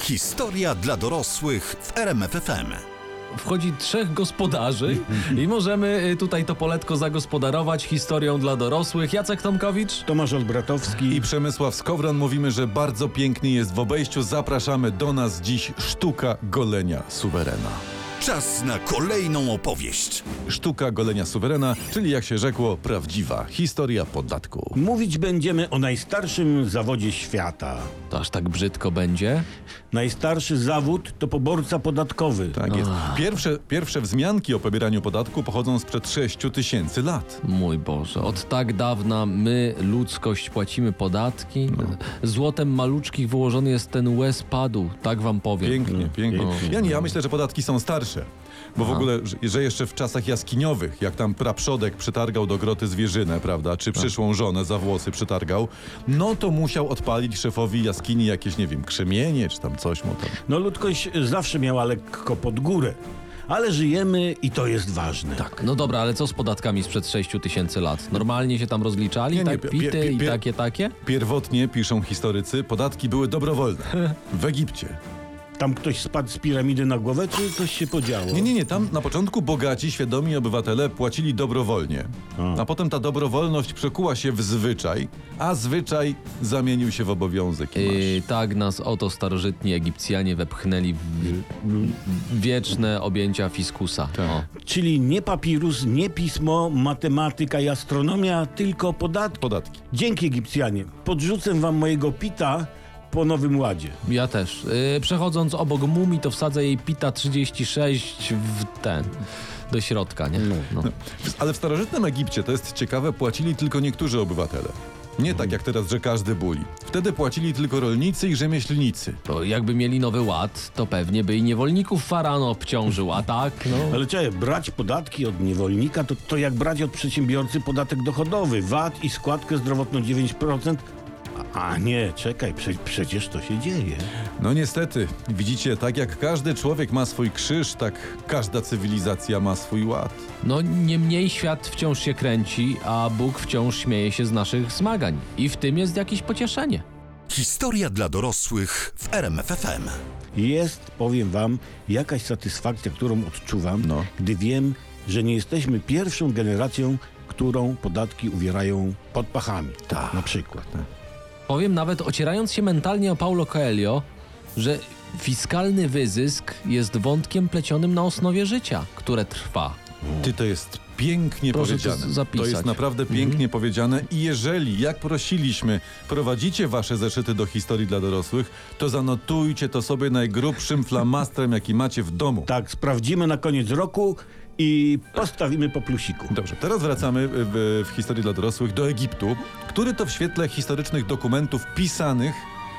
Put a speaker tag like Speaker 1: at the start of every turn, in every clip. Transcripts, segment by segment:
Speaker 1: Historia dla dorosłych w RMFFM.
Speaker 2: Wchodzi trzech gospodarzy i możemy y, tutaj to poletko zagospodarować historią dla dorosłych. Jacek Tomkowicz.
Speaker 3: Tomasz Olbratowski.
Speaker 4: I Przemysław Skowron mówimy, że bardzo pięknie jest w obejściu. Zapraszamy do nas dziś sztuka golenia suwerena.
Speaker 1: Czas na kolejną opowieść.
Speaker 4: Sztuka golenia suwerena, czyli jak się rzekło, prawdziwa historia podatku.
Speaker 3: Mówić będziemy o najstarszym zawodzie świata.
Speaker 2: To aż tak brzydko będzie.
Speaker 3: Najstarszy zawód to poborca podatkowy.
Speaker 4: Tak jest. Pierwsze, pierwsze wzmianki o pobieraniu podatku pochodzą sprzed 6 tysięcy lat.
Speaker 2: Mój Boże, od tak dawna my, ludzkość, płacimy podatki. Złotem maluczkich wyłożony jest ten łez padu, tak wam powiem.
Speaker 4: Pięknie, pięknie.
Speaker 2: pięknie.
Speaker 4: Ja, nie, ja myślę, że podatki są starsze. Bo w ogóle, że- że jeszcze w czasach jaskiniowych, jak tam praprzodek przytargał do groty zwierzynę, prawda, czy przyszłą żonę za włosy przytargał, no to musiał odpalić szefowi jaskini jakieś, nie wiem, krzemienie, czy tam coś mu tam.
Speaker 3: No ludzkość zawsze miała lekko pod górę. Ale żyjemy i to jest ważne.
Speaker 4: Tak.
Speaker 2: No dobra, ale co z podatkami sprzed 6 tysięcy lat? Normalnie się tam rozliczali,
Speaker 4: Nie, nie,
Speaker 2: tak
Speaker 4: pie-
Speaker 2: pity
Speaker 4: pie-
Speaker 2: i
Speaker 4: pie-
Speaker 2: takie, takie?
Speaker 4: Pierwotnie, piszą historycy, podatki były dobrowolne. W Egipcie.
Speaker 3: Tam ktoś spadł z piramidy na głowę, czy coś się podziało?
Speaker 4: Nie, nie, nie, tam na początku bogaci, świadomi obywatele płacili dobrowolnie. A potem ta dobrowolność przekuła się w zwyczaj, a zwyczaj zamienił się w obowiązek. I masz.
Speaker 2: Yy, tak nas oto starożytni Egipcjanie wepchnęli w w wieczne objęcia fiskusa. O.
Speaker 3: Czyli nie papirus, nie pismo, matematyka i astronomia, tylko podatki.
Speaker 4: Podatki.
Speaker 3: Dzięki Egipcjanie. Podrzucę wam mojego pita po Nowym Ładzie.
Speaker 2: Ja też. Yy, przechodząc obok mumii, to wsadzę jej pita 36 w ten. Do środka, nie? No.
Speaker 4: W- Ale w starożytnym Egipcie, to jest ciekawe, płacili tylko niektórzy obywatele. Nie tak jak teraz, że każdy buli. Wtedy płacili tylko rolnicy i rzemieślnicy.
Speaker 2: Bo jakby mieli nowy ład, to pewnie by i niewolników faran obciążył, a tak? No.
Speaker 3: Ale czekaj, brać podatki od niewolnika to, to jak brać od przedsiębiorcy podatek dochodowy, VAT i składkę zdrowotną 9%. A, a nie, czekaj, prze, przecież to się dzieje.
Speaker 4: No niestety, widzicie, tak jak każdy człowiek ma swój krzyż, tak każda cywilizacja ma swój ład.
Speaker 2: no niemniej świat wciąż się kręci, a Bóg wciąż śmieje się z naszych zmagań. I w tym jest jakieś pocieszenie.
Speaker 1: Historia dla dorosłych w RMFFM.
Speaker 3: Jest, powiem wam, jakaś satysfakcja, którą odczuwam,
Speaker 4: No.
Speaker 3: gdy wiem, że nie jesteśmy pierwszą generacją, którą podatki uwierają pod pachami. Tak. Na przykład.
Speaker 2: Powiem nawet, ocierając się mentalnie o Paulo Coelho, że fiskalny wyzysk jest wątkiem plecionym na osnowie życia, które trwa.
Speaker 4: Ty to jest pięknie
Speaker 2: Proszę to
Speaker 4: powiedziane.
Speaker 2: z- zapisać. Mhm.
Speaker 4: To jest naprawdę pięknie powiedziane i jeżeli, jak prosiliśmy, prowadzicie wasze zeszyty do historii dla dorosłych, to zanotujcie to sobie najgrubszym flamastrem, jaki macie w domu.
Speaker 3: Tak, sprawdzimy na koniec roku i postawimy po plusiku.
Speaker 4: Dobrze, teraz wracamy w, w historii dla dorosłych do Egiptu, który to w świetle historycznych dokumentów pisanych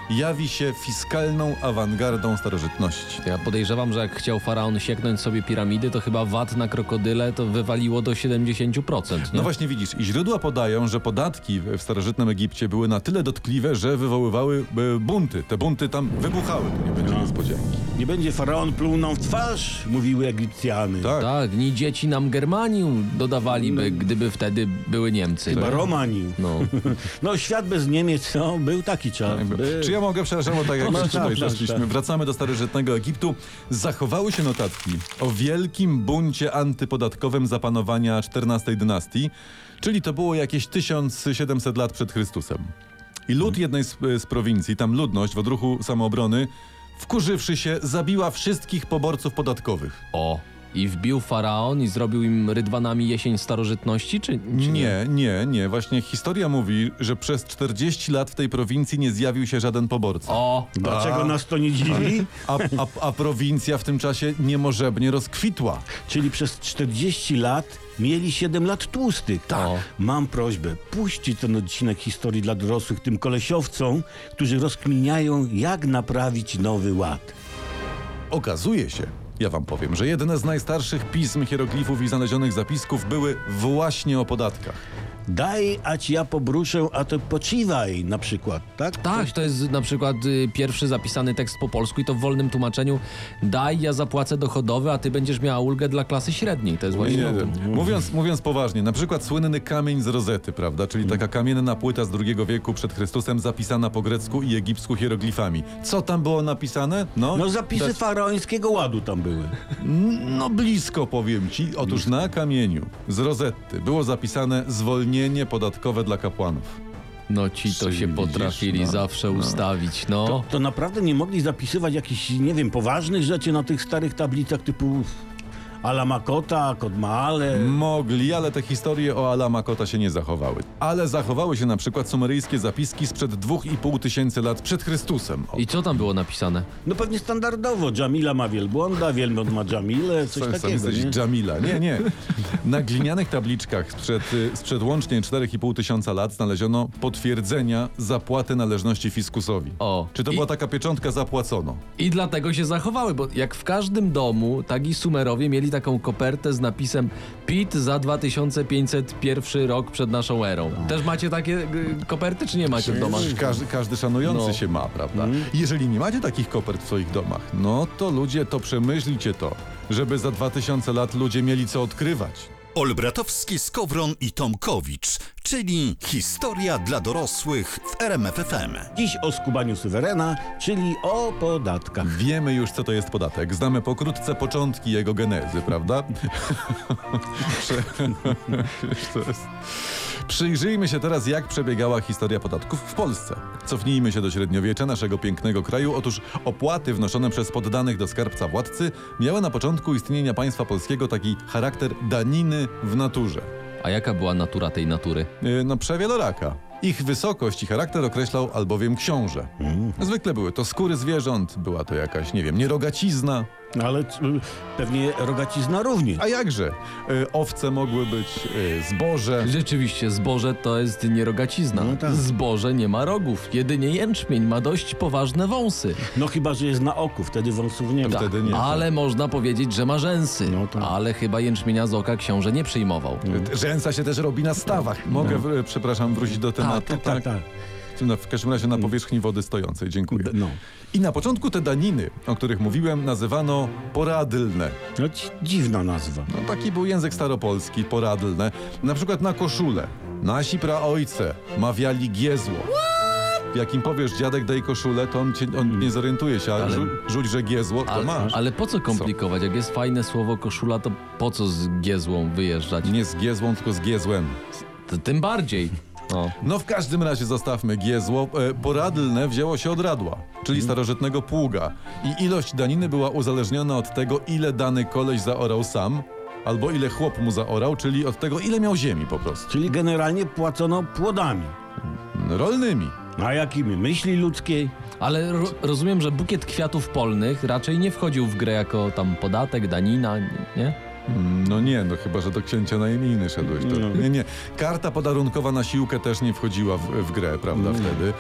Speaker 4: jawi się fiskalną awangardą starożytności.
Speaker 2: Ja podejrzewam, że jak chciał faraon sieknąć sobie piramidy, to chyba VAT na krokodyle to wywaliło do 70%. Nie?
Speaker 4: No właśnie widzisz, i źródła podają, że podatki w w starożytnym Egipcie były na tyle dotkliwe, że wywoływały e, bunty. Te bunty tam wybuchały, to nie będzie niespodzianki.
Speaker 3: Nie będzie faraon pluł nam w twarz, mówiły Egipcjany.
Speaker 4: Tak.
Speaker 2: Tak, ni dzieci nam Germanium dodawaliby, gdyby wtedy były Niemcy.
Speaker 3: Chyba
Speaker 2: nie?
Speaker 3: Romanił.
Speaker 2: No.
Speaker 3: No świat bez Niemiec, no był taki czas. Był.
Speaker 4: Czy ja mogę, przepraszam, bo tak jak
Speaker 3: Proszę,
Speaker 4: już tutaj
Speaker 3: proszę.
Speaker 4: zeszliśmy. Wracamy do starożytnego Egiptu. Zachowały się notatki o wielkim buncie antypodatkowym zapanowania XIV dynastii, czyli to było jakieś 1700 lat przed Chrystusem. I lud jednej z, z prowincji, tam ludność w odruchu samoobrony, wkurzywszy się, zabiła wszystkich poborców podatkowych.
Speaker 2: O, I wbił faraon i zrobił im rydwanami jesień starożytności, czy, czy nie?
Speaker 4: Nie, nie, nie. Właśnie historia mówi, że przez 40 lat w tej prowincji nie zjawił się żaden poborca.
Speaker 2: O,
Speaker 3: Dlaczego nas to nie dziwi?
Speaker 4: A, a, a prowincja w tym czasie niemożebnie rozkwitła.
Speaker 3: Czyli przez 40 lat mieli 7 lat tłustych. Tak.
Speaker 2: O.
Speaker 3: Mam prośbę, puśćcie ten odcinek historii dla dorosłych tym kolesiowcom, którzy rozkminiają, jak naprawić nowy ład.
Speaker 4: Okazuje się, ja wam powiem, że jedne z najstarszych pism, hieroglifów i znalezionych zapisków były właśnie o podatkach.
Speaker 3: Daj, a ci ja pobruszę, a to poczywaj na przykład, tak?
Speaker 2: tak, to jest na przykład y, pierwszy zapisany tekst po polsku i to w wolnym tłumaczeniu daj, ja zapłacę dochodowy, a ty będziesz miała ulgę dla klasy średniej. To jest właśnie o tym.
Speaker 4: No, Mówiąc, mówiąc poważnie, na przykład słynny kamień z rozety, prawda? Czyli taka kamienna płyta z II wieku przed Chrystusem zapisana po grecku i egipsku hieroglifami. Co tam było napisane? No,
Speaker 3: No zapisy
Speaker 4: dać-
Speaker 3: faraońskiego ładu tam były.
Speaker 4: No blisko powiem ci. Otóż na kamieniu z Rozetty było zapisane zwolnienie podatkowe dla kapłanów.
Speaker 2: No ci to
Speaker 4: Czyli
Speaker 2: się
Speaker 4: widzisz,
Speaker 2: potrafili
Speaker 4: no,
Speaker 2: zawsze ustawić, no.
Speaker 3: To, to naprawdę nie mogli zapisywać jakichś, nie wiem, poważnych rzeczy na tych starych tablicach typu Alamakota, Kodmaale.
Speaker 4: Mogli, ale te historie o Alama Kota się nie zachowały. Ale zachowały się na przykład sumeryjskie zapiski sprzed 2,5 tysięcy lat przed Chrystusem. O,
Speaker 2: I co tam było napisane?
Speaker 3: No pewnie standardowo. Dżamila ma wielbłąda, wielbłąd ma Dżamilę, coś
Speaker 4: sam- sam
Speaker 3: takiego.
Speaker 4: jesteś
Speaker 3: nie?
Speaker 4: Jamila. Nie, nie. Na glinianych tabliczkach sprzed, y, sprzed łącznie 4,5 tysiąca lat znaleziono potwierdzenia zapłaty należności fiskusowi.
Speaker 2: O.
Speaker 4: Czy to
Speaker 2: I-
Speaker 4: była taka pieczątka zapłacono?
Speaker 2: I dlatego się zachowały, bo jak w każdym domu, tak i Sumerowie mieli taką kopertę z napisem PIT za 2501 rok przed naszą erą.
Speaker 3: Tak.
Speaker 2: Też macie takie y, koperty, czy nie macie w domach?
Speaker 4: Każdy, każdy szanujący
Speaker 2: No.
Speaker 4: się ma, prawda? Jeżeli nie macie takich kopert w swoich domach, no to ludzie, to przemyślcie to, żeby za 2000 lat ludzie mieli co odkrywać.
Speaker 1: Olbratowski, Skowron i Tomkowicz, czyli historia dla dorosłych w RMFFM.
Speaker 3: Dziś o skubaniu suwerena, czyli o podatkach.
Speaker 4: Wiemy już, co to jest podatek. Znamy pokrótce początki jego genezy, prawda? Prze- To jest- Przyjrzyjmy się teraz, jak przebiegała historia podatków w Polsce. Cofnijmy się do średniowiecza naszego pięknego kraju. Otóż opłaty wnoszone przez poddanych do skarbca władcy miały na początku istnienia państwa polskiego taki charakter daniny w naturze.
Speaker 2: A jaka była natura tej natury?
Speaker 4: Yy, No przewieloraka. Ich wysokość i charakter określał albowiem książę. Zwykle były to skóry zwierząt, była to jakaś, nie wiem, nierogacizna,
Speaker 3: No Ale c- pewnie rogacizna również.
Speaker 4: A jakże? Y, owce mogły być, y, zboże.
Speaker 2: Rzeczywiście, zboże to jest nierogacizna.
Speaker 3: No tak.
Speaker 2: Zboże nie ma rogów, jedynie jęczmień ma dość poważne wąsy.
Speaker 3: No chyba, że jest na oku, wtedy wąsów nie ma.
Speaker 4: Wtedy nie.
Speaker 2: Ale można powiedzieć, że ma rzęsy.
Speaker 3: tak. No tak.
Speaker 2: Ale chyba jęczmienia z oka książę nie przyjmował.
Speaker 4: Rzęsa się też robi na stawach. Mogę, w- y, przepraszam, wrócić do tematu.
Speaker 3: No. Tak, tak, tak.
Speaker 4: Na- W każdym razie na powierzchni wody stojącej. Dziękuję.
Speaker 3: No.
Speaker 4: I na początku te daniny, o których mówiłem, nazywano poradylne.
Speaker 3: No ci- dziwna nazwa.
Speaker 4: No, taki był język staropolski, poradylne. Na przykład na koszulę. Nasi praojce mawiali giezło. Jak im powiesz dziadek daj koszulę, to on, cię, on nie zorientuje się, ale,
Speaker 2: Ale-
Speaker 4: Rzu, rzuć, że giezło, to
Speaker 2: Ale,
Speaker 4: masz.
Speaker 2: ale po co komplikować? Jak jest fajne słowo koszula, to po co z giezłą wyjeżdżać?
Speaker 4: Nie z giezłą, tylko z giezłem.
Speaker 2: T- Tym bardziej. No.
Speaker 4: No w każdym razie zostawmy giezło. E, Poradlne wzięło się od radła, czyli starożytnego pługa. I ilość daniny była uzależniona od tego, ile dany koleś zaorał sam, albo ile chłop mu zaorał, czyli od tego, ile miał ziemi po prostu.
Speaker 3: Czyli generalnie płacono płodami.
Speaker 4: Rolnymi.
Speaker 3: A jakimi? Myśli ludzkiej?
Speaker 2: Ale ro rozumiem, że bukiet kwiatów polnych raczej nie wchodził w grę jako tam podatek, danina, nie?
Speaker 4: Mm, No nie, no chyba, że do księcia na imieniny szedłeś. To...
Speaker 3: No.
Speaker 4: Nie, nie. Karta podarunkowa na siłkę też nie wchodziła w, w grę, prawda, wtedy.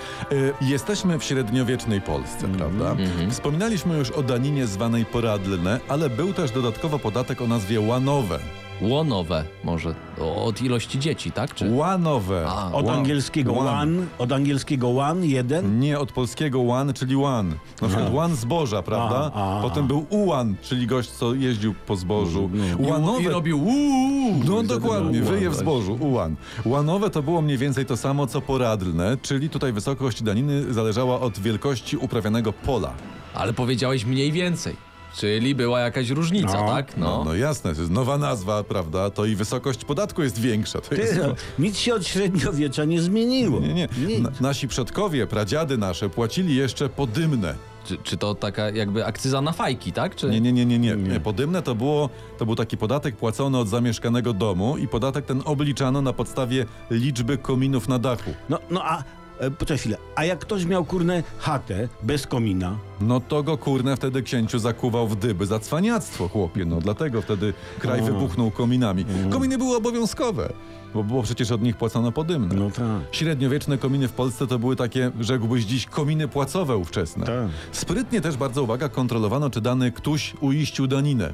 Speaker 4: E, jesteśmy w średniowiecznej Polsce,
Speaker 3: Mhm.
Speaker 4: prawda?
Speaker 2: Mhm.
Speaker 4: Wspominaliśmy już o daninie zwanej poradlne, ale był też dodatkowo podatek o nazwie łanowe.
Speaker 2: Łonowe może. O, od ilości dzieci, tak? Czy...
Speaker 4: Łanowe.
Speaker 2: A,
Speaker 3: Od
Speaker 4: Łan-
Speaker 3: angielskiego
Speaker 4: łan.
Speaker 3: one, od angielskiego one, jeden.
Speaker 4: Nie od polskiego łan, czyli łan. Na przykład łan zboża, prawda?
Speaker 3: A, a, a.
Speaker 4: Potem był ułan, czyli gość, co jeździł po zbożu. Łanowe...
Speaker 2: I robił uuu.
Speaker 4: No dokładnie, wyje w zbożu, ułan. Łanowe to było mniej więcej to samo, co poradlne, czyli tutaj wysokość daniny zależała od wielkości uprawianego pola.
Speaker 2: Ale powiedziałeś mniej więcej. Czyli była jakaś różnica,
Speaker 3: No.
Speaker 2: tak?
Speaker 4: No,
Speaker 2: No.
Speaker 4: no jasne, to jest nowa nazwa, prawda? To i wysokość podatku jest większa. To jest...
Speaker 3: Ty, no, nic się od średniowiecza nie zmieniło.
Speaker 4: Nie, nie.
Speaker 3: Nic.
Speaker 4: Na, nasi przodkowie, pradziady nasze płacili jeszcze podymne.
Speaker 2: Czy, czy to taka jakby akcyza na fajki, tak? Czy...
Speaker 4: Nie, nie, nie, nie, nie. Podymne to było, to był taki podatek płacony od zamieszkanego domu i podatek ten obliczano na podstawie liczby kominów na dachu.
Speaker 3: No, no a e, poczekaj chwilę. A jak ktoś miał kurne chatę bez komina,
Speaker 4: No to go kurne wtedy księciu zakuwał w dyby za cwaniactwo, chłopie. No dlatego wtedy kraj wybuchnął kominami. Kominy były obowiązkowe, bo było przecież od nich płacano podymne.
Speaker 3: no tak.
Speaker 4: Średniowieczne kominy w Polsce to były takie, rzekłbyś dziś, kominy płacowe ówczesne.
Speaker 3: Tak.
Speaker 4: Sprytnie też bardzo uwaga kontrolowano, czy dany ktoś uiścił daninę,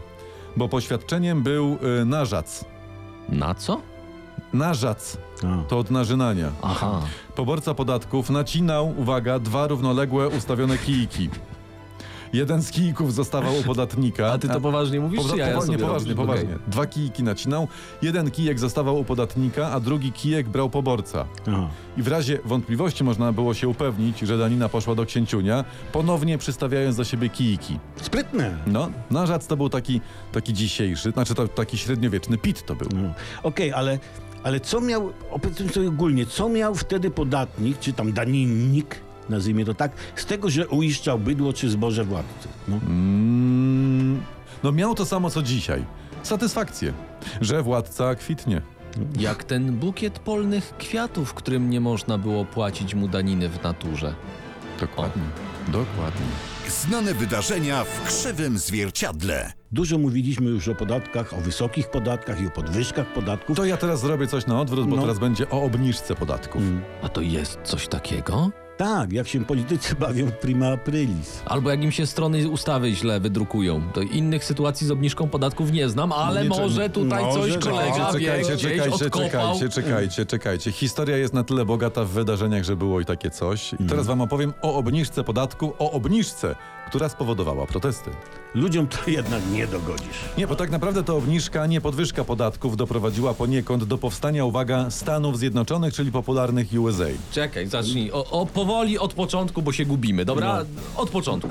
Speaker 4: bo poświadczeniem był y, narzac.
Speaker 2: Na co?
Speaker 4: Narzac
Speaker 3: A.
Speaker 4: to od narzynania.
Speaker 2: Aha.
Speaker 4: Poborca podatków nacinał, uwaga, dwa równoległe ustawione kijki. Jeden z kijków zostawał u podatnika.
Speaker 2: A ty to poważnie mówisz,
Speaker 4: Powa-
Speaker 2: czy ja, ja
Speaker 4: poważnie,
Speaker 2: sobie
Speaker 4: poważnie,
Speaker 2: robię?
Speaker 4: poważnie. Dwa kijki nacinał, jeden kijek zostawał u podatnika, a drugi kijek brał poborca.
Speaker 3: Aha.
Speaker 4: I w razie wątpliwości można było się upewnić, że danina poszła do księciunia, ponownie przystawiając do siebie kijki.
Speaker 3: Sprytne.
Speaker 4: No, narzac to był taki, taki dzisiejszy, znaczy to, taki średniowieczny pit to był.
Speaker 3: No. Okej, ale, ale co miał, opowiedzmy sobie ogólnie, co miał wtedy podatnik, czy tam daninnik, nazwijmy to tak, z tego, że uiszczał bydło czy zboże władcy? No.
Speaker 4: Mm, no miał to samo co dzisiaj. Satysfakcję, że władca kwitnie.
Speaker 2: Okej. Jak ten bukiet polnych kwiatów, którym nie można było płacić mu daniny w naturze.
Speaker 4: Dokładnie. Dokładnie.
Speaker 1: Znane wydarzenia w krzywym zwierciadle.
Speaker 3: Dużo mówiliśmy już o podatkach, o wysokich podatkach i o podwyżkach podatków.
Speaker 4: To ja teraz zrobię coś na odwrót, bo
Speaker 3: No.
Speaker 4: teraz będzie o obniżce podatków.
Speaker 3: Mm.
Speaker 2: A to jest coś takiego?
Speaker 3: Tak, jak się politycy bawią prima aprilis.
Speaker 2: Albo jak im się strony ustawy źle wydrukują. To innych sytuacji z obniżką podatków nie znam, ale
Speaker 4: No Nie, czy- no,
Speaker 2: może tutaj
Speaker 3: może
Speaker 2: coś
Speaker 3: tak.
Speaker 2: kolega wie,
Speaker 4: czekajcie,
Speaker 2: gdzieś
Speaker 4: czekajcie,
Speaker 2: odkopał.
Speaker 4: czekajcie, czekajcie, czekajcie. Historia jest na tyle bogata w wydarzeniach, że było i takie coś. I
Speaker 3: Mm.
Speaker 4: teraz wam opowiem o obniżce podatku, o obniżce, która spowodowała protesty.
Speaker 3: Ludziom to jednak nie dogodzisz.
Speaker 4: Nie, bo tak naprawdę to obniżka, nie podwyżka podatków doprowadziła poniekąd do powstania, uwaga, Stanów Zjednoczonych, czyli popularnych USA.
Speaker 2: Czekaj, zacznij. O, o, powoli od początku, bo się gubimy, dobra?
Speaker 4: No.
Speaker 2: Od początku.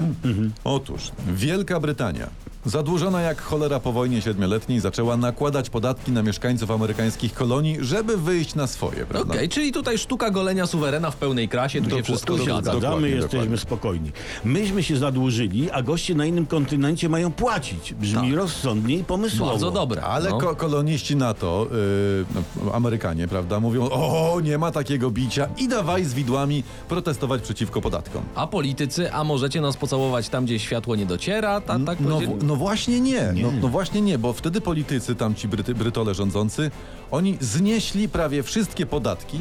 Speaker 4: Otóż Wielka Brytania, zadłużona jak cholera po wojnie siedmioletniej, zaczęła nakładać podatki na mieszkańców amerykańskich kolonii, żeby wyjść na swoje, prawda?
Speaker 2: Okej, czyli tutaj sztuka golenia suwerena w pełnej krasie, tu się
Speaker 4: Dokładnie.
Speaker 2: wszystko
Speaker 4: Tu się
Speaker 2: zgadza.
Speaker 4: zgadza.
Speaker 3: Zgadzamy,
Speaker 4: Dokładnie,
Speaker 3: jesteśmy
Speaker 4: dokładnie.
Speaker 3: spokojni. Myśmy się zadłużyli, a goście na innym kontynencie mają płacić. Brzmi
Speaker 2: Tak.
Speaker 3: rozsądnie i pomysłowo.
Speaker 2: Bardzo dobre.
Speaker 4: Ale
Speaker 2: no.
Speaker 4: ko- koloniści NATO, yy, no, Amerykanie, prawda, mówią, o, nie ma takiego bicia i dawaj z widłami protestować przeciwko podatkom.
Speaker 2: A politycy, a możecie nas pocałować tam, gdzie światło nie dociera, ta, tak
Speaker 4: No,
Speaker 2: powiedzieli?
Speaker 4: w- no właśnie nie, No, no właśnie nie, bo wtedy politycy, tamci Bryty, Brytole rządzący, oni znieśli prawie wszystkie podatki,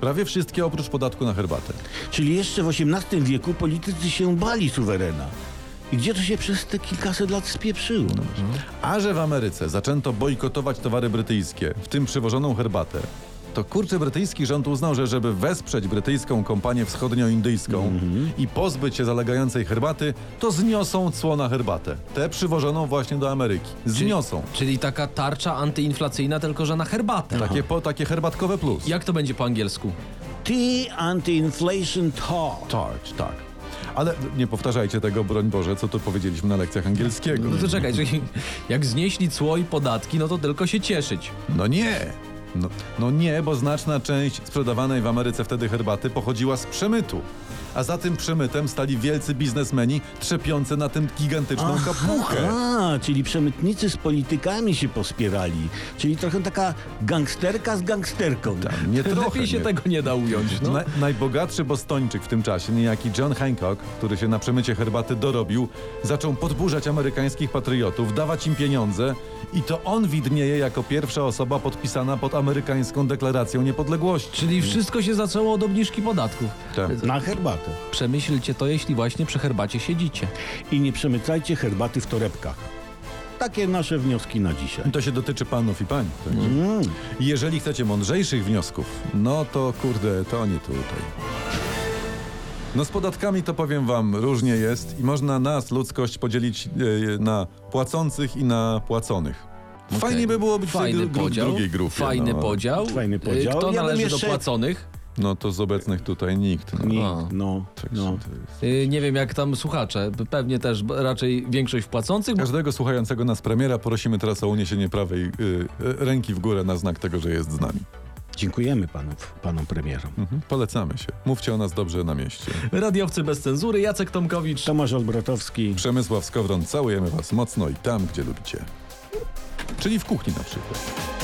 Speaker 4: prawie wszystkie oprócz podatku na herbatę.
Speaker 3: Czyli jeszcze w XVIII wieku politycy się bali suwerena. I gdzie to się przez te kilkaset lat spieprzyło?
Speaker 4: A że w Ameryce zaczęto bojkotować towary brytyjskie, w tym przywożoną herbatę, to kurczę brytyjski rząd uznał, że żeby wesprzeć brytyjską kompanię wschodnioindyjską
Speaker 2: Mhm.
Speaker 4: i pozbyć się zalegającej herbaty, to zniosą cło na herbatę. Tę przywożoną właśnie do Ameryki. Zniosą.
Speaker 2: Czyli taka tarcza antyinflacyjna, tylko że na herbatę.
Speaker 4: Takie, po, takie herbatkowe plus.
Speaker 2: Jak to będzie po angielsku?
Speaker 3: Ty anti-inflation talk.
Speaker 4: Tarcz, tak. Ale nie powtarzajcie tego, broń Boże, co to powiedzieliśmy na lekcjach angielskiego.
Speaker 2: No to czekaj, czyli jak znieśli cło i podatki, no to tylko się cieszyć.
Speaker 4: No nie! No, no nie, bo znaczna część sprzedawanej w Ameryce wtedy herbaty pochodziła z przemytu. A za tym przemytem stali wielcy biznesmeni trzepiący na tym gigantyczną kapuchę.
Speaker 3: A, czyli przemytnicy z politykami się pospierali. Czyli trochę taka gangsterka z gangsterką.
Speaker 4: Nie trochę
Speaker 2: Lepiej się
Speaker 4: nie.
Speaker 2: tego nie da ująć. No.
Speaker 4: Na, najbogatszy bostończyk w tym czasie, niejaki John Hancock, który się na przemycie herbaty dorobił, zaczął podburzać amerykańskich patriotów, dawać im pieniądze i to on widnieje jako pierwsza osoba podpisana pod amerykańską deklaracją niepodległości.
Speaker 2: Czyli wszystko się zaczęło od obniżki podatków.
Speaker 4: Tak.
Speaker 3: Na herbatę.
Speaker 2: Przemyślcie to, jeśli właśnie przy herbacie siedzicie.
Speaker 3: I nie przemycajcie herbaty w torebkach. Takie nasze wnioski na dzisiaj.
Speaker 4: To się dotyczy panów i pań. Także.
Speaker 2: Mm.
Speaker 4: Jeżeli chcecie mądrzejszych wniosków, no to kurde, to nie tutaj. No z podatkami to powiem wam, różnie jest i można nas, ludzkość, podzielić e, na płacących i na płaconych. Fajnie by było być
Speaker 2: Fajny
Speaker 4: w tej gru- gru-
Speaker 2: podział.
Speaker 4: drugiej grupie.
Speaker 2: Fajny
Speaker 4: no.
Speaker 2: podział.
Speaker 3: Fajny
Speaker 2: Y,
Speaker 3: podział.
Speaker 2: Kto
Speaker 3: Ja bym
Speaker 2: należy do
Speaker 3: jeszcze-
Speaker 2: płaconych?
Speaker 4: No to z obecnych tutaj nikt. No.
Speaker 3: Nie,
Speaker 2: A.
Speaker 3: no,
Speaker 4: Także
Speaker 3: no.
Speaker 4: to jest.
Speaker 2: Y, Nie wiem jak tam słuchacze, pewnie też b- raczej większość płacących. bo-
Speaker 4: Każdego słuchającego nas premiera prosimy teraz o uniesienie prawej y, y, ręki w górę na znak tego, że jest z nami.
Speaker 3: Dziękujemy panu, panom premierom.
Speaker 4: Mhm, Polecamy się. Mówcie o nas dobrze na mieście.
Speaker 2: Radiowcy bez cenzury, Jacek Tomkowicz.
Speaker 3: Tomasz Olbratowski.
Speaker 4: Przemysław Skowron, całujemy Was mocno i tam, gdzie lubicie. Czyli w kuchni na przykład.